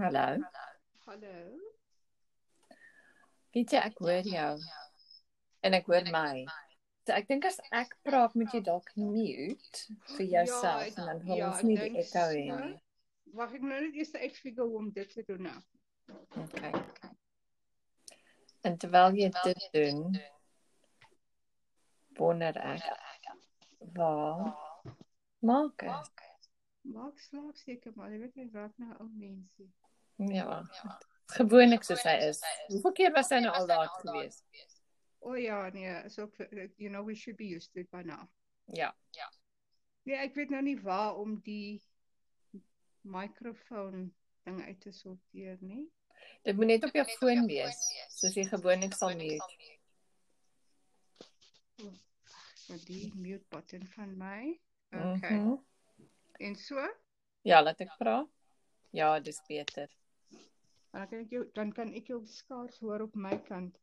Hallo. Hallo. Weet jy ek hoor jou en ek hoor my. So ek dink as ek praat moet jy dalk mute vir Ja, jouself ek- en dan hoor ja, ons ek nie die dink echo so. hê nie. Wag ek nou net eers uitfigure hoe om dit te doen nou. Okay. En terwyl jy dit doen, wonder ek waar maak is. Maak slaap seker maar, jy weet net wat nou ou mense. Ja. Gewoonlik soos hy is. Hoeveel keer was hy nou al daar gewees? O oh, ja, nee, so you know we should be used to it by now. Ja. Nee, ek weet nou nie waar om die mikrofoon ding uit te sorteer nie. Dit moet net op jou foon wees, soos jy gewoonlik sal mute. Wat die mute button van my. Okay. Mm -hmm. Mhm. En so, Ja, laat ek praat. Ja, dis beter. dan kan ek jou dan kan ek jou skaars hoor op my kant.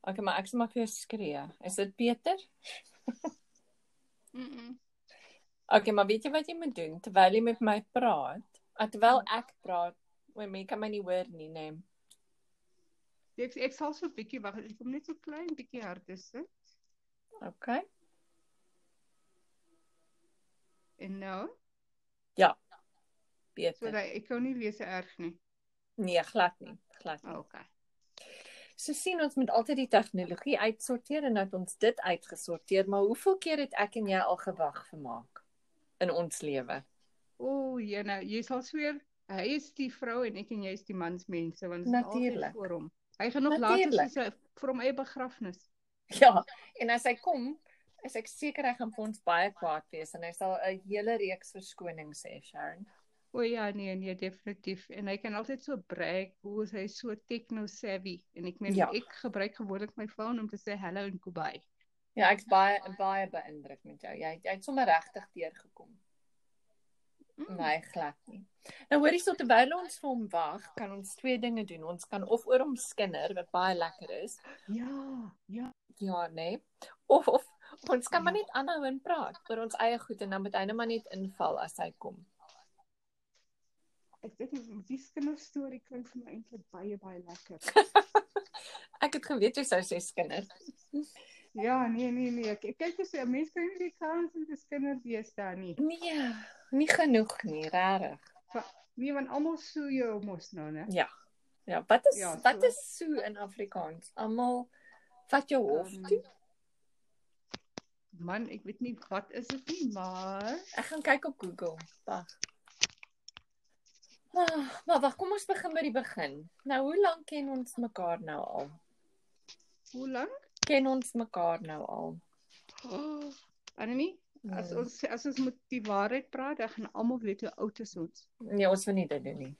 Okay, maar ek sê maar vir jou skree. Is dit beter? Mm. -mm. Okay, maar weet jy wat jy moet doen terwyl jy met my praat? Ah, Terwyl ek praat, my mense kan my nie hoor nie, nê. Nee. Ek ek sal so 'n bietjie wag. Ek kom net so klein bietjie harder sit. Okay. En nou, so Beter. dat ek kan nie weer so erg nie. Nee, glad nie, glad nie. Oh, okay. So sien ons moet altyd die tegnologie uitsorteer en dat ons dit uitgesorteer, maar hoeveel keer het ek en jy al gewag gemaak in ons lewe? O, jy nou, jy sal sweer hy is die vrou en ek en jy is die mansmense want dit is altyd Natuurlijk. voor hom. Hy gaan nog later Natuurlijk. soos 'n vir hom eie begrafnis. Ja, en as hy kom, is ek seker hy gaan vir ons baie kwaad wees en hy sal 'n hele reeks verskonings hê, Sharon. O ja, nee, nee, definitief. En hy kan altyd so brag hoe is hy so techno savvy en ek meen Ja. ja. ek gebruik gewoonlik my foon om te sê hallo en goodbye. Ja, ek's baie baie beïndruk met jou. Jy jy het sommer regtig deurgekom. Mm. Nee, glad nie. Nou hoor hierso terwyl ons vir hom wag, kan ons twee dinge doen. Ons kan of oor hom skinder wat baie lekker is. Ja, ja. Ja, nee. Of of ons kan maar net aanhou en praat oor ons eie goed en dan moet hy net maar net inval as hy kom. Ek dink die kinderstorie klink vir my eintlik baie baie lekker. Ek het geweet jy sou sê skinder. Ja, nee nee nee. Ek ek kyk as 'n mens kan nie die kans in die kinders wees daar nie. Nee, nie genoeg nie, regtig. Nee, want almal sou jou mos nou, né? Ja. Ja, wat is ja, Ja, so- wat is so in Afrikaans? Almal vat jou hof Ehm, toe. Man, ek weet nie wat is dit nie, maar Ek gaan kyk op Google. Wag. Ah, maar wag, kom ons begin by die begin. Nou, hoe lank ken ons mekaar nou al? hoe lank? Ken ons mekaar nou al? Oh, Ja. Annelie, as Nee. ons as ons moet die waarheid praat, dan gaan almal weet hoe oud is ons. Nee, ons wil nie dit doen nie.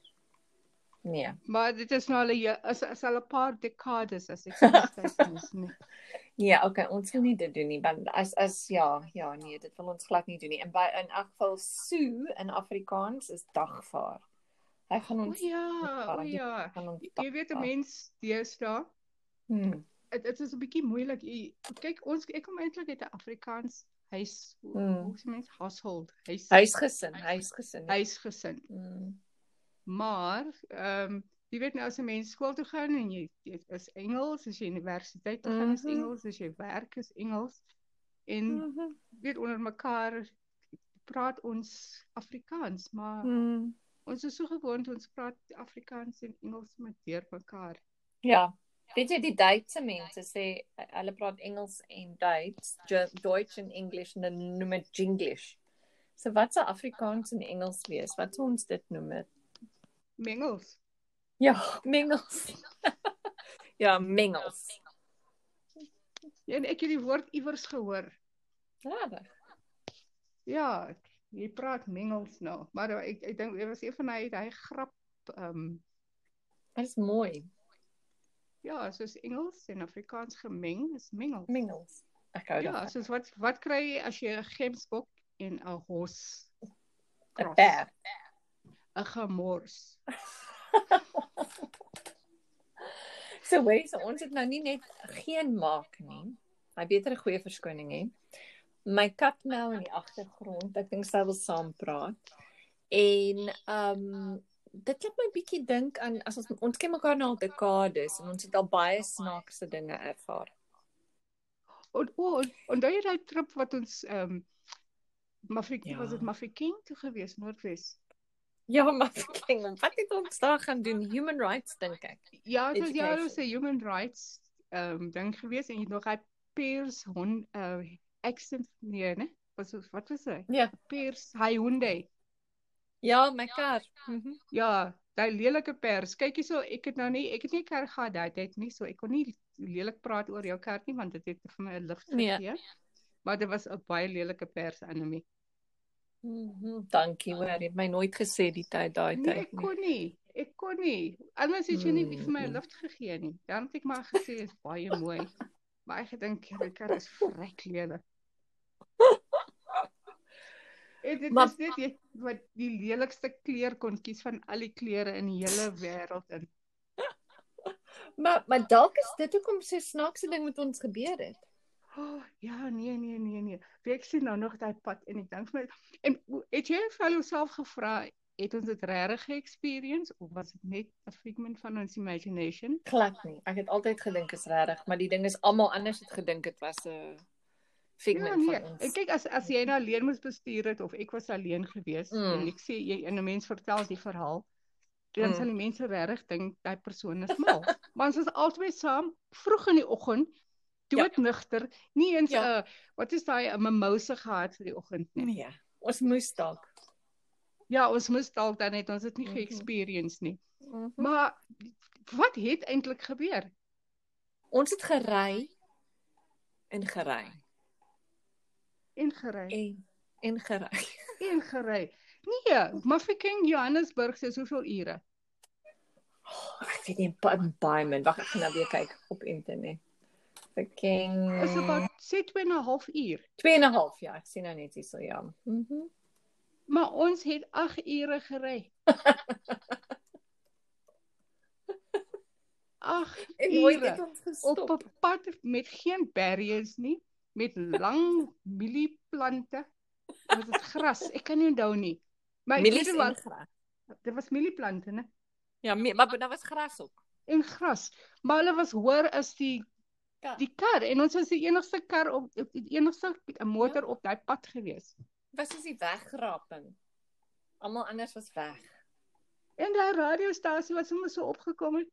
Nee. Maar dit is nou al 'n ja- is is al 'n paar dekades as ek sê dit nie. Ja, okay, ons wil nie dit doen nie want as as ja, ja, nee, dit wil ons glad nie doen nie. En by in elk geval sue in Afrikaans is dagvaar. Hy gaan O ons ja, o ja. gaan ons Jy weet 'n mens deesdae Hmm. dit dit is 'n bietjie moeilik. Jy- Kyk, ons ek kom eintlik uit 'n Afrikaans huis hoe Mm. hoe sê mens household, huis Huisgesin, huisgesin. huisgesin. Hmm. Maar ehm jy weet nou as 'n mens skool toe gaan en jy jy is Engels, as jy universiteit toe gaan is Mhm. Engels, as jy werk is Engels. En Mhm. weet onder mekaar praat ons Afrikaans, maar Hmm. ons is so gewoond ons praat Afrikaans en Engels met deur mekaar. Ja. Weet jy die Duitse mense sê uh, hulle praat Engels en Duits, Ge- Deutsch en English en dan noem dit Jinglish. So wat se Afrikaans en Engels wees? Wat sou ons dit noem? Het? Mengels. Ja, mengels. ja, mengels. En ek het die woord iewers gehoor. Regtig? Ja, jy praat mengels nou, maar ek ek dink dit was een van hy hy grap ehm um, Dit is mooi, ja, soos Engels en Afrikaans gemeng is mengels. mengels. Ek hou Ja, daarvan. soos wat wat kry jy as jy 'n gemsbok en 'n hos 'n cross, Perd. 'n gemors. So weet so ons het nou nie net geen maak nie. Hy beter 'n goeie verskoning hê. My kat mel in die agtergrond. Ek dink sy wil saam praat. En ehm um, dit laat my bietjie dink aan as ons ons ken mekaar nou al dekades en ons het al baie snaakse dinge ervaar. En o, oh, onthou jy daai trip wat ons ehm um, Mafeking Ja. ja. was dit Mafeking toe gewees Noordwes. Ja, maar king, wat het ons daar gaan doen? Human rights dink ek. Ja, dit was ja, Education. ons 'n human rights ehm um, ding gewees en jy het nog hy pers hond uh, accent nee, né? Wat was wat was hy? Ja. Pers hy honde. Ja, my kar. Mm -hmm. Ja, daai lelike pers. Kyk hierso, ek het nou nie ek het nie kerk gehad daai tyd nie, so ek kon nie lelik praat oor jou kerk nie want dit het vir my 'n lig Nee. gegee. Nee. Maar dit was 'n baie lelike pers anemie. Mm -hmm. Dankie hoor, jy het my nooit gesê die tyd daai Nee, tyd ek kon nie. Ek kon nie. Anders het jy nie vir my Mm. lift gegee nie. Ja, Dan het ek maar gesê is baie mooi. Maar ek gedink hierdie kar is vrek lelik. En dit Maar- is net jy wat die lelikste kleur kon kies van al die kleure in die hele wêreld in. Maar maar dalk is dit hoekom so snaakse ding met ons gebeur het. Oh, ja, nee, nee, nee, nee. Wie ek sien nou nog daai pad en ek dink vir my en hoe- het jy vir jouself gevra het ons dit regtig ge-experience of was dit net 'n figment van ons imagination? Glad nie. Ek het altyd gedink is regtig, maar die ding is almal anders het gedink dit was 'n Ja, figment nee. van En ons. kyk as as jy nou alleen moes bestuur het of ek was alleen gewees mm. Mm. en ek sê jy en 'n mens vertel die verhaal, dan Mm. mm. sal die mense regtig dink daai persoon is mal. maar ons was albei saam vroeg in die oggend doodnigter, nie eens 'n Ja. ja. uh, wat is daai 'n mimouse gehad vir die oggend nie. Nee. Ons moes dalk. Ja, ons moes dalk dan net ons het nie Mhm. ge-experience nie. Mm -hmm. Maar wat het eintlik gebeur? Ons het gery en gery En gery. en en gery. En gery. Nee, Mafeking Johannesburg sê hoeveel ure? Oh, ek weet nie baie baie min. Wag, ek gaan nou weer kyk op internet. Fucking is about sê 2 en 'n half uur. 2 en 'n half jaar. Ek sien nou net hierso ja. Mhm. Mm Maar ons het 8 ure gery. 8 en nooit het ure ons gestop. op 'n pad met geen barriers nie, met lang mielieplante. Wat is gras? Ek kan nie onthou nie. Maar ek weet Mielies dit en was gras. dit was mielieplante, né? Ja, me- maar daar was gras ook. En gras. Maar hulle was hoër as die Kar. die kar en ons was die enigste kar op op- die enigste motor Ja. op daai pad gewees. was soos die wegraping. Almal anders was weg. En daai radiostasie wat sommer so opgekom het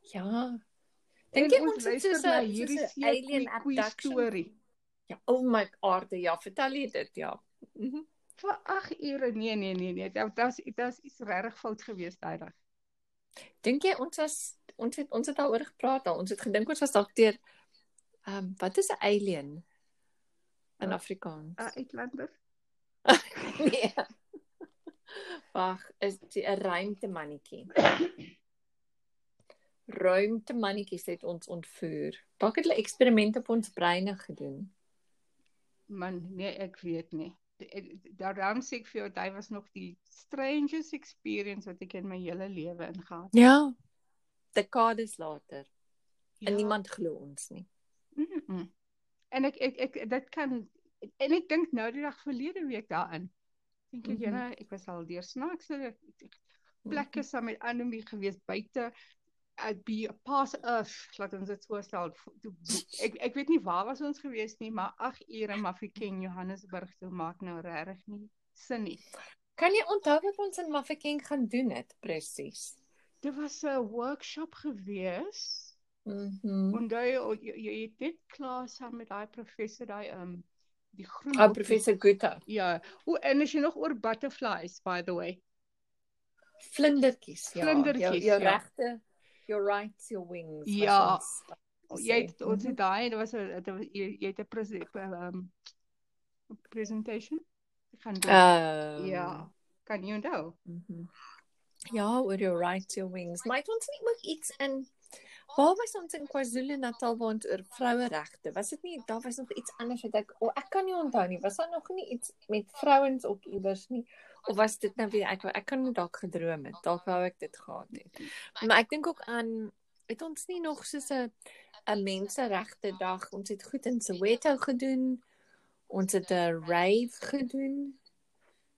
Ja. En Dink jy ons ons het luister soos na 'n hierdie hierdie seep alien met koeie abduction storie. Ja, oh my aarde, ja, vertel jy dit, ja. Mhm. Vir 8 ure. Nee, nee, nee, nee. Dit was dit was iets regtig fout gewees daai dag. Dink jy ons was ons het ons het daaroor gepraat al. Ons het gedink ons was dalk teer ehm um, wat is 'n alien in Ja. Afrikaans? 'n Uitlander. Nee. Wag, is die- 'n ruimte mannetjie. Ruimte mannetjies het ons ontvoer. Dalk het hulle eksperimente op ons breine gedoen. Man, nee, ek weet nie. eh, Daarom sê ek vir jou, dit was nog die strangest experience wat ek in my hele lewe ingehaal het. Ja. Dekades later. En Ja. niemand glo ons nie. Mm -mm. En ek ek ek dit kan en ek dink nou die dag verlede week daarin. Dink ek Mhm. jene, ek was al deur snaakse Hmm. plekke saam met anemie gewees buite at be a pass earth laat ons dit so stel. Toe- Ek ek weet nie waar was ons gewees nie, maar 8 ure Mafeking Johannesburg toe maak nou regtig nie sin nie. Kan jy onthou wat ons in Mafeking gaan doen het presies? Dit was 'n workshop gewees. Mhm. Onthou jy, o- jy, jy het net klaar saam met daai professor daai ehm um, die groen Ou boekie- Ah, professor Gutta. Ja, o en as jy nog oor butterflies by the way. Vlindertjies, ja. Vlindertjies, jou, jou ja. regte, your rights, your wings. was Ja. ons- Jy het ons Mhm. het daai dit was 'n dit was- jy jy het 'n pres- ehm presentation gaan doen. Ehm, ja, kan jy onthou? mhm. Ja, oor your rights, your wings. Maar het ons nie ook iets in Waar was ons in KwaZulu-Natal waar ons oor vroueregte? Was dit nie daar was nog iets anders wat ek oh, ek kan nie onthou nie. Was daar nog nie iets met vrouens op iewers nie? Of was dit nou weer ek ek kan nie dalk gedroom het. Dalk wou ek dit gehad het. Maar ek dink ook aan het ons nie nog soos 'n 'n menseregte dag. Ons het goed in Soweto gedoen. Ons het 'n rave gedoen.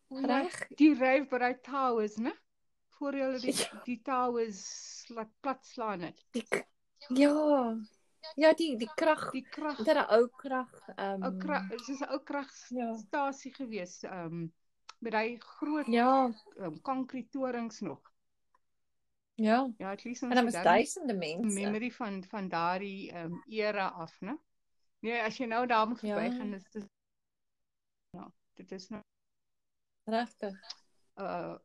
Reg. Die rave by daai towers, né? Voor hulle die Ja. die towers laat plat slaan het. Die- Ja. Ja, die die krag, Die krag, dit 'n ou krag. Ehm ou krag, soos 'n ou kragstasie gewees, ehm met daai groot Ja, um, konkrietorings nog. ja. Ja, at least En daar was duisende mense. memory van van daardie ehm um, era af, né? Nee, as jy nou daar moet Ja. verbygaan, is dit ja, dit is nou Regtig. 'n uh,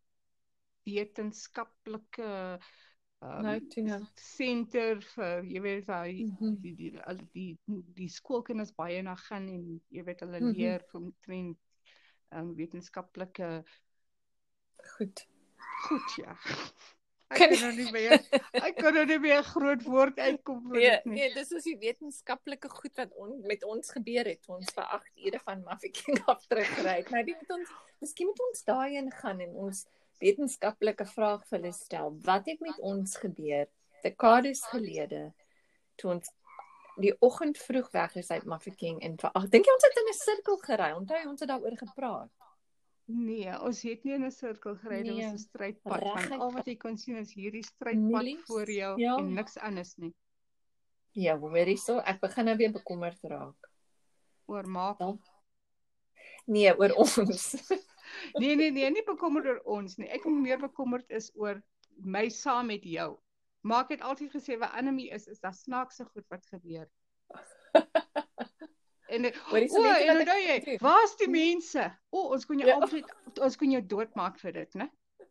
wetenskaplike ehm um, Nou toe nou. senter vir jy weet daai Mhm. die die al die die skoolkinders baie na gaan en jy weet hulle Mhm. leer omtrent ehm um, wetenskaplike Goed. goed ja. Ek Kan- kan nou nie meer ek kan nou nie meer 'n groot woord uitkom vir Nee, dit nie. nee, dis is die wetenskaplike goed wat on, met ons gebeur het. toe Ons vir 8 ure van Mafeking af teruggery het. Nou dit moet ons miskien moet ons daarin gaan en ons wetenskaplike vraag vir hulle stel. Wat het met ons gebeur dekades gelede toe ons die oggend vroeg weg is uit Mafeking en vir 8 dink jy ons het in 'n sirkel gery? Onthou jy, ons het daaroor gepraat. Nee, ons het nie in 'n sirkel gery nie, Nee, ons 'n strydpad reguit van al wat jy kon sien is hierdie strydpad Mielies, voor jou ja. en niks anders nie. Ja, hoor hierso, ek begin nou weer bekommerd raak. Oor maak. Ja. Nee, oor ons. Nee nee nee, nie bekommerd oor ons nie. Ek is meer bekommerd is oor my saam met jou. Maak het altyd gesê wat anemie is is dat snaakse goed wat gebeur. En ek- Hoor hierso, o, weet jy en wat ek onthou jy, doen? waar's die mense? O, ons kon jou Ja. altyd ons kon jou doodmaak vir dit, né?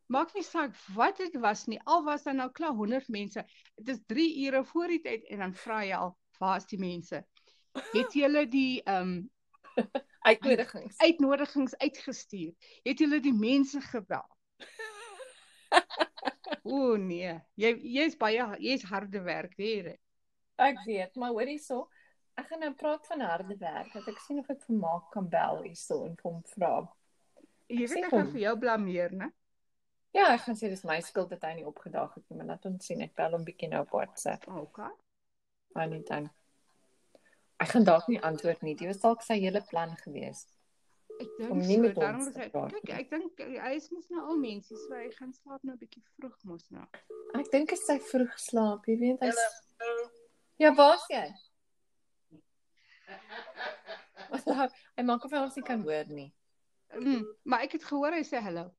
Maak nie saak wat dit was nie. Al was daar nou klaar 100 mense. Dit is 3 ure voor die tyd en dan vra jy al, waar's die mense? Het julle die ehm um, Uitnodigings. uitnodigings uitgestuur? Het julle die mense gebel? o nee, jy jy's baie jy's harde werk hier. Ek weet, maar hoor hierso. Ek gaan nou praat van harde werk. Dat ek sien of ek vir Maak kan bel hierso en vir hom vra. Jy Sê weet ek hom. gaan vir jou blameer, né? Ja, ek gaan sê dis my skuld dat hy nie opgedaag het nie, maar laat ons sien. Ek bel hom bietjie nou op WhatsApp. OK. Maar nie dan. Ek gaan dalk nie antwoord nie. Dit was dalk sy hele plan gewees. Ek Om dink nie so, met daarom ons is te hy praat kyk, nie. ek dink hy is mos nou al mense, so hy gaan slaap nou 'n bietjie vroeg mos nou. Ek dink as sy vroeg slaap, jy weet, hy's Ja, waar's jy? Hy maak of hy ons nie kan hoor nie. Mm, Hmm. maar ek het gehoor hy sê hallo.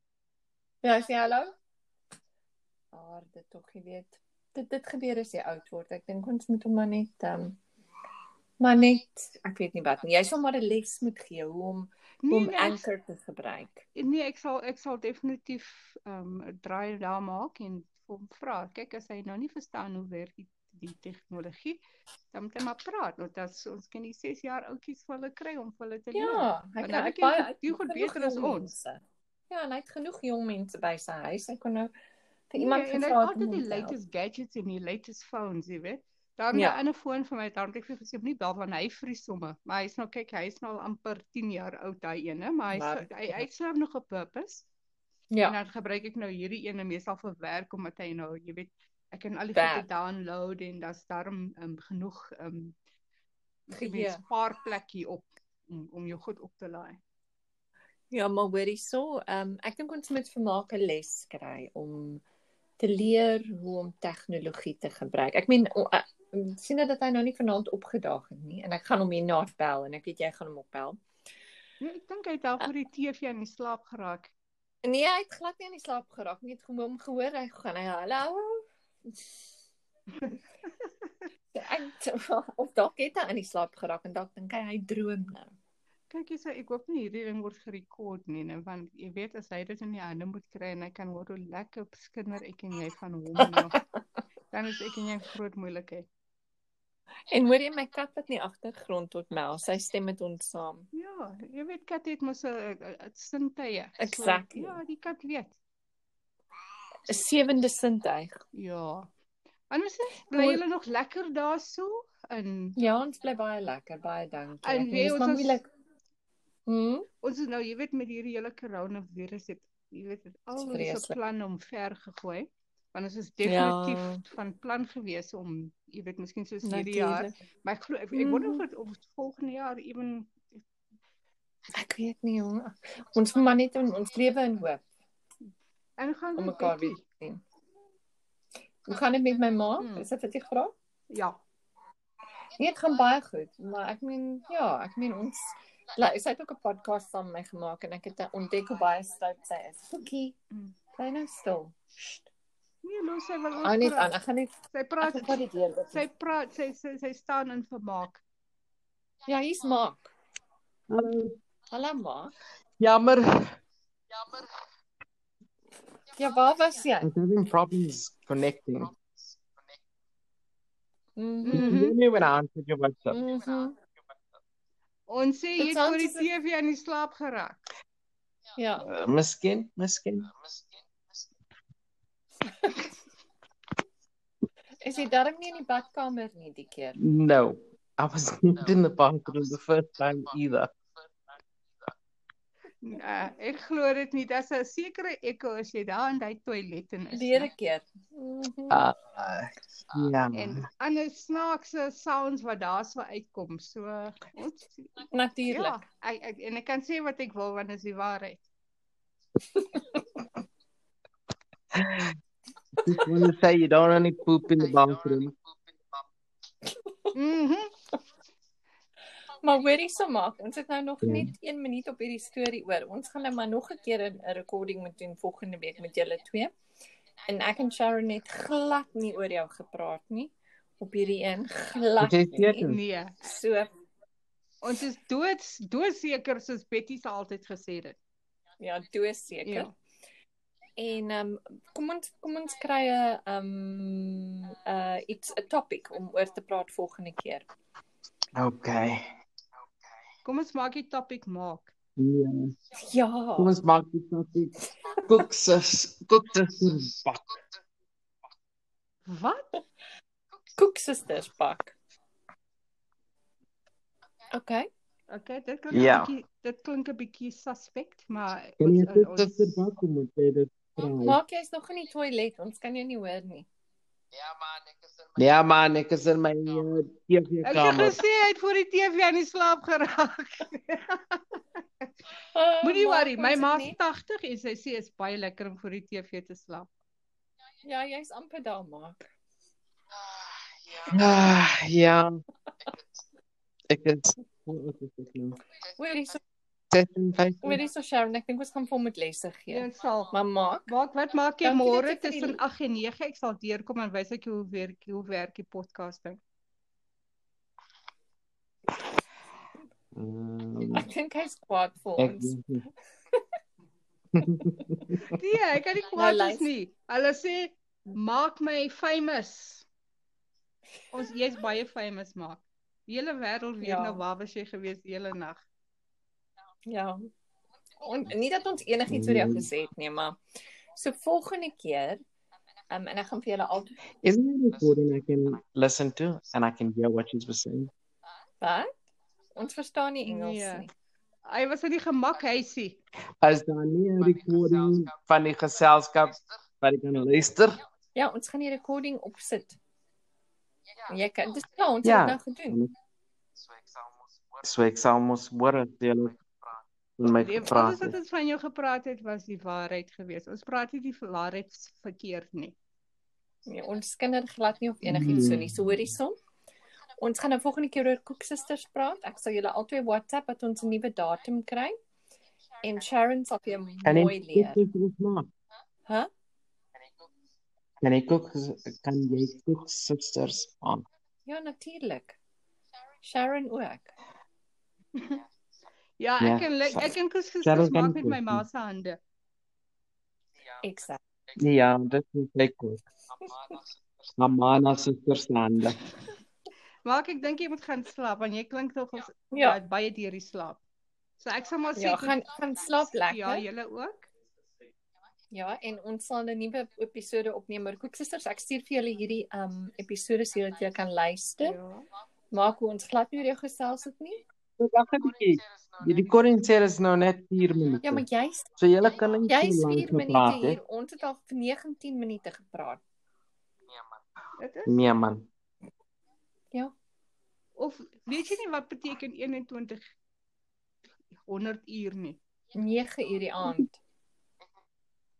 Ja, sê hallo. Aarde tog, jy weet. Dit dit gebeur as jy oud word. Ek dink ons moet hom maar net ehm um, maar net ek weet nie wat nie. Jy sal maar 'n les moet gee hoe om Nee, om nee, ek anchor te gebruik. Nee, ek sal ek sal definitief ehm um, draai daar maak en vir hom vra. Kyk as hy nou nie verstaan hoe werk die, die tegnologie, dan moet hy maar praat. Want as ons kan die 6 jaar oudjies vir hulle kry om vir hulle te leer. Ja, hy Want kan hy hy ken baie goed- hy die ken goed genoeg beter as jong ons. mense. Ja, en hy het genoeg jong mense by sy huis. Hy kon nou vir Nee, iemand en hy gevra het het om altyd die hom te help. latest gadgets en die latest phones, jy weet. Daarom Ja. ja. 'n ander foon vir my, daarom het ek vir gesê moenie bel want hy vries somme. Maar hy's nou kyk, hy's nou al amper 10 jaar oud daai ene, maar hy's Maar- hy hy serve nog 'n purpose. En Ja, dan gebruik ek nou hierdie een en meestal vir werk omdat hy nou, jy weet, ek kan al die Werk. goede download en daar's daarom um, genoeg um Geheue. spaarplekkie op om, om jou goed op te laai. ja, maar hoor hierso, ehm um, ek dink ons moet vermaak 'n les kry om te leer hoe om tegnologie te gebruik. Ek meen o- ek- sien jy dat hy nou nie vanaand opgedaag het nie en ek gaan hom hierna bel en ek weet jy gaan hom opbel. Nee, ek dink hy het Ah. daar voor die TV aan die slaap geraak. Nee, hy het glad nie aan die slaap geraak nie. Ek het hom gehoor hy gaan hy hallo. Ek of dalk het hy aan die slaap geraak en dalk dink hy hy droom nou. Kyk hierso, ek hoop nie hierdie ding word gerekord nie, nou, want jy weet as hy dit in die hande moet kry en hy kan hoor hoe lekker skinder ek en jy van hom nog. Dan is ek en jy in groot moeilikheid. En hoor jy my kat wat nie agtergrond tot mel, sy stem met ons saam. Ja, jy weet kat het mos 'n- 'n 'n sintuie. So, Exactly. Ja, die kat weet. 'n Sewende sintuig. Ja. Anders is bly Mooi. julle nog lekker daarso in Ja, ons bly baie lekker, baie dankie. En Ek wie meen, dis ons maar is- moeilik. Hm? ons is nou jy weet met hierdie hele koronavirus het jy weet het al Dis ons vreselijk. planne omver gegooi want ons is definitief Ja. ja. van plan gewees om jy weet miskien soos hierdie jaar Natuurlik. maar ek glo ek, ek wonder of Mhm. dit of volgende jaar ewen Ek weet nie jong. Ons moet maar net in ons lewe in hoop En hoe gaan om dit mekaar met weer Betty? te sien. Hoe gaan dit met my ma? Hmm. Is dit wat jy vra? Ja. Nee, dit gaan baie goed, maar ek meen ja, ek meen ons like, sy het ook 'n podcast saam met my gemaak en ek het ontdek hoe baie stout sy is. Boekie, Hmm. bly nou stil. Sst, Nee, los sy wil Hou net aan. praat. Ek gaan net Sy ek praat gaan vat die deur oop. sy praat sy sy, sy staan in vermaak. Ja, hier's Maak. Hallo. Hallo Maak. Jammer. Ja, waar was jy? I'm having problems connecting. Mhm. You can hear me when I answered your WhatsApp. Mhm. Mm-hmm. Ons sê jy Dit het sounds oor die as if- TV in die slaap geraak. Ja. Uh, miskien, miskien. Is jy darm nie in die badkamer nie die keer? No. I was not in the bathroom the first time either. Nee, ek glo dit nie. Daar's 'n sekere ekko as jy daar in daai toilet in is. Die hele keer. Mhm. Uh, yeah. en ander snaakse sounds wat daarso uitkom. So ons ja, Natuurlik. ek, ek en ek kan sê wat ek wil want dit is die waarheid. Just want to say you don't only poop in the bathroom. Mhm. Maar hoorie so maak, ons het nou nog Ja. net 1 minuut op hierdie storie oor. Ons gaan nou maar nog 'n keer 'n 'n recording moet doen volgende week met julle twee. En ek en Sharon het glad nie oor jou gepraat nie op hierdie een glad. Jy is Nie. seker? nee. So Ons is dood doodseker soos Betty se altyd gesê het. ja, doodseker. Ja. Ja. En ehm um, kom ons kom ons kry 'n ehm uh iets 'n topic om oor te praat volgende keer. Okay. Kom ons maak die topic maak. Yeah. Ja. Kom ons maak dit net. Kook sis, kook sis bak. Wat? Koeksisters pak. OK. Okay, dit klink Ja. 'n bietjie dit klink 'n bietjie suspect, maar Kan jy ons- dit ons- sister bak om dit te vra? Maak jy's nog in die toilet. Ons kan jou nie hoor nie. Ja man, ek is in my uh, TV Ek het kamer. gesê hy het voor die TV aan die slaap geraak. Oh, Moenie worry, my ons ma's het nie- 80 en sy sê is baie lekker om voor die TV te slaap. Ja, jy's amper daar, maak. Ah, ja. Ek is Hoe oud is ek nou? Hoor hierso, 56. hoor hierso Sharon, ek dink ons gaan vir hom met lesse Ja, gee. en sal. Maar maak. Maak wat maak jy Dankie dat môre jy vir die- tussen 8 en 9? Ek sal deurkom en wys ek jou hoe werk hoe werk die nou. podcasting. Mm, Ek dink hy's kwaad vir Ek ons. weet nie. Nee, ek kan nie kwaad Nou is luister. nie. Hulle sê maak my famous. Ons jy's baie famous maak. Die hele wêreld weet Ja. ja. nou waar was jy gewees die hele nag. Ja. En nie dat ons enigiets oor Mm. jou gesê het nie, maar so volgende keer um, en ek gaan vir julle al Isn't there a recording I can listen to and I can hear what she's saying? wat? Ons verstaan nie Engels Nee. nie. Hy was in die gemak huisie. As daar nie 'n recording van die geselskap wat ek kan luister. Ja, ons gaan die recording opsit. Ja. Jy kan dis nou ons Ja. het nou gedoen. So ek sal mos hoor as jy hulle in my Nee, gevra Alles wat het. ons van jou gepraat het was die waarheid geweest. Ons praat nie die waarheid verkeerd nie. Nee, ons kinders glad nie of enigiets so nie. So hoorie som. Ons gaan nou volgende keer oor koeksisters praat. Ek sal julle albei WhatsApp dat ons 'n nuwe datum kry. En Sharon sal vir jou Kan mooi jy leer. dit maak? Hæ? Kan ek ook kan jy ook sisters aan? Ja, natuurlik. Sharon ook. Ja, Ja. ek en ja. ek en kus Cheryl gisters kan maak nie met my kook ma nie. se hande. Exact. Ja, dit is lekker. Amana sisters aan. Maar ek dink jy moet gaan slaap want jy klink tog ons ja. Ja, baie deur die slaap. So ek sal maar sê ja, tot- gaan gaan slaap ja, lekker. julle ook. Ja, en ons sal 'n nuwe episode opneem oor koeksisters. Ek stuur vir julle hierdie um episode sodat julle kan luister. Ja. Maak hoe ons glad nie oor jou gesels het nie. Wag 'n bietjie. Die recording sê dit is nou net 4 minute. Ja, maar jy's So julle kan nie Jy's so 4 lank minute gepraat hier. het. Ons het al vir 19 minute gepraat. Dit is Nee man. of weet jy nie wat beteken 21 100 uur nie. 9 uur die aand.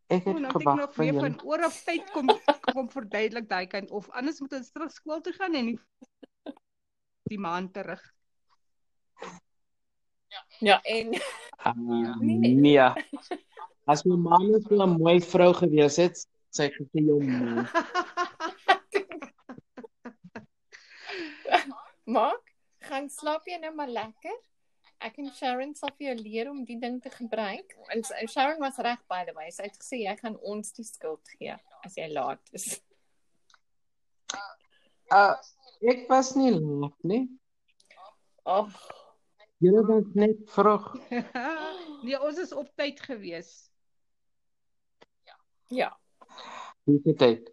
Ek Ek het moet ek gewag nog vir weer jou. van oor op tyd kom kom verduidelik daai kant of anders moet ons terug skool toe gaan en die, die maand terug. Ja, en Ah, Nee. Nee. As my ma net so 'n mooi vrou gewees het, sy het gesê jou ma. Maak, gaan slaap jy nou maar lekker. Ek en Sharon sal vir jou leer om die ding te gebruik. En s- en Sharon was reg by the way. Sy het gesê jy gaan ons die skuld gee as jy laat is. Uh, ek was nie laat nie. Oh, Julle was net vroeg. nee, ons is op tyd gewees. ja. Hoeveel tyd?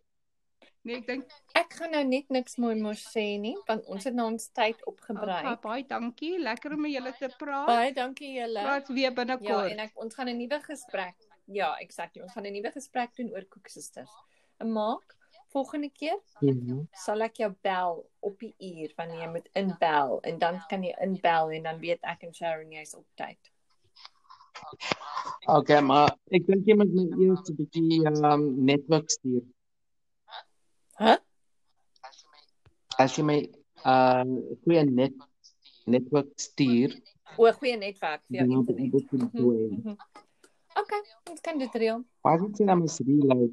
Nee, ek dink Ek gaan nou net niks mooi mos sê nie, want ons het nou ons tyd oh, opgebruik. baie dankie. Lekker om met julle te praat. Baie dankie julle. Praat Ja, weer en binnekort. ek ons gaan 'n nuwe gesprek. Ja, exactly. Ons gaan 'n nuwe gesprek doen oor koeksisters. En maak volgende keer Ja. sal ek jou bel op die uur wanneer jy moet inbel en dan kan jy inbel en dan weet ek en Sharon jy's op tyd. Okay, maar ek dink jy moet my eers 'n bietjie um netwerk stuur. Hæ? As jy my uh goeie net netwerk stuur, O, goeie netwerk vir jou dan moet ek internet. dit doen. doen. Mhm. Okay, ons kan dit reël. Why did you name reload?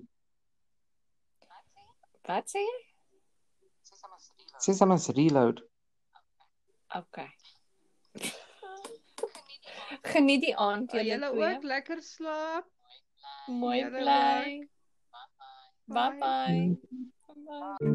Wat sê jy? Say someone's reload. Okay. Geniet die aand Ja, julle julle ook twee. lekker slaap. Mooi Julle bly. Bye bye. Bye. Bye bye.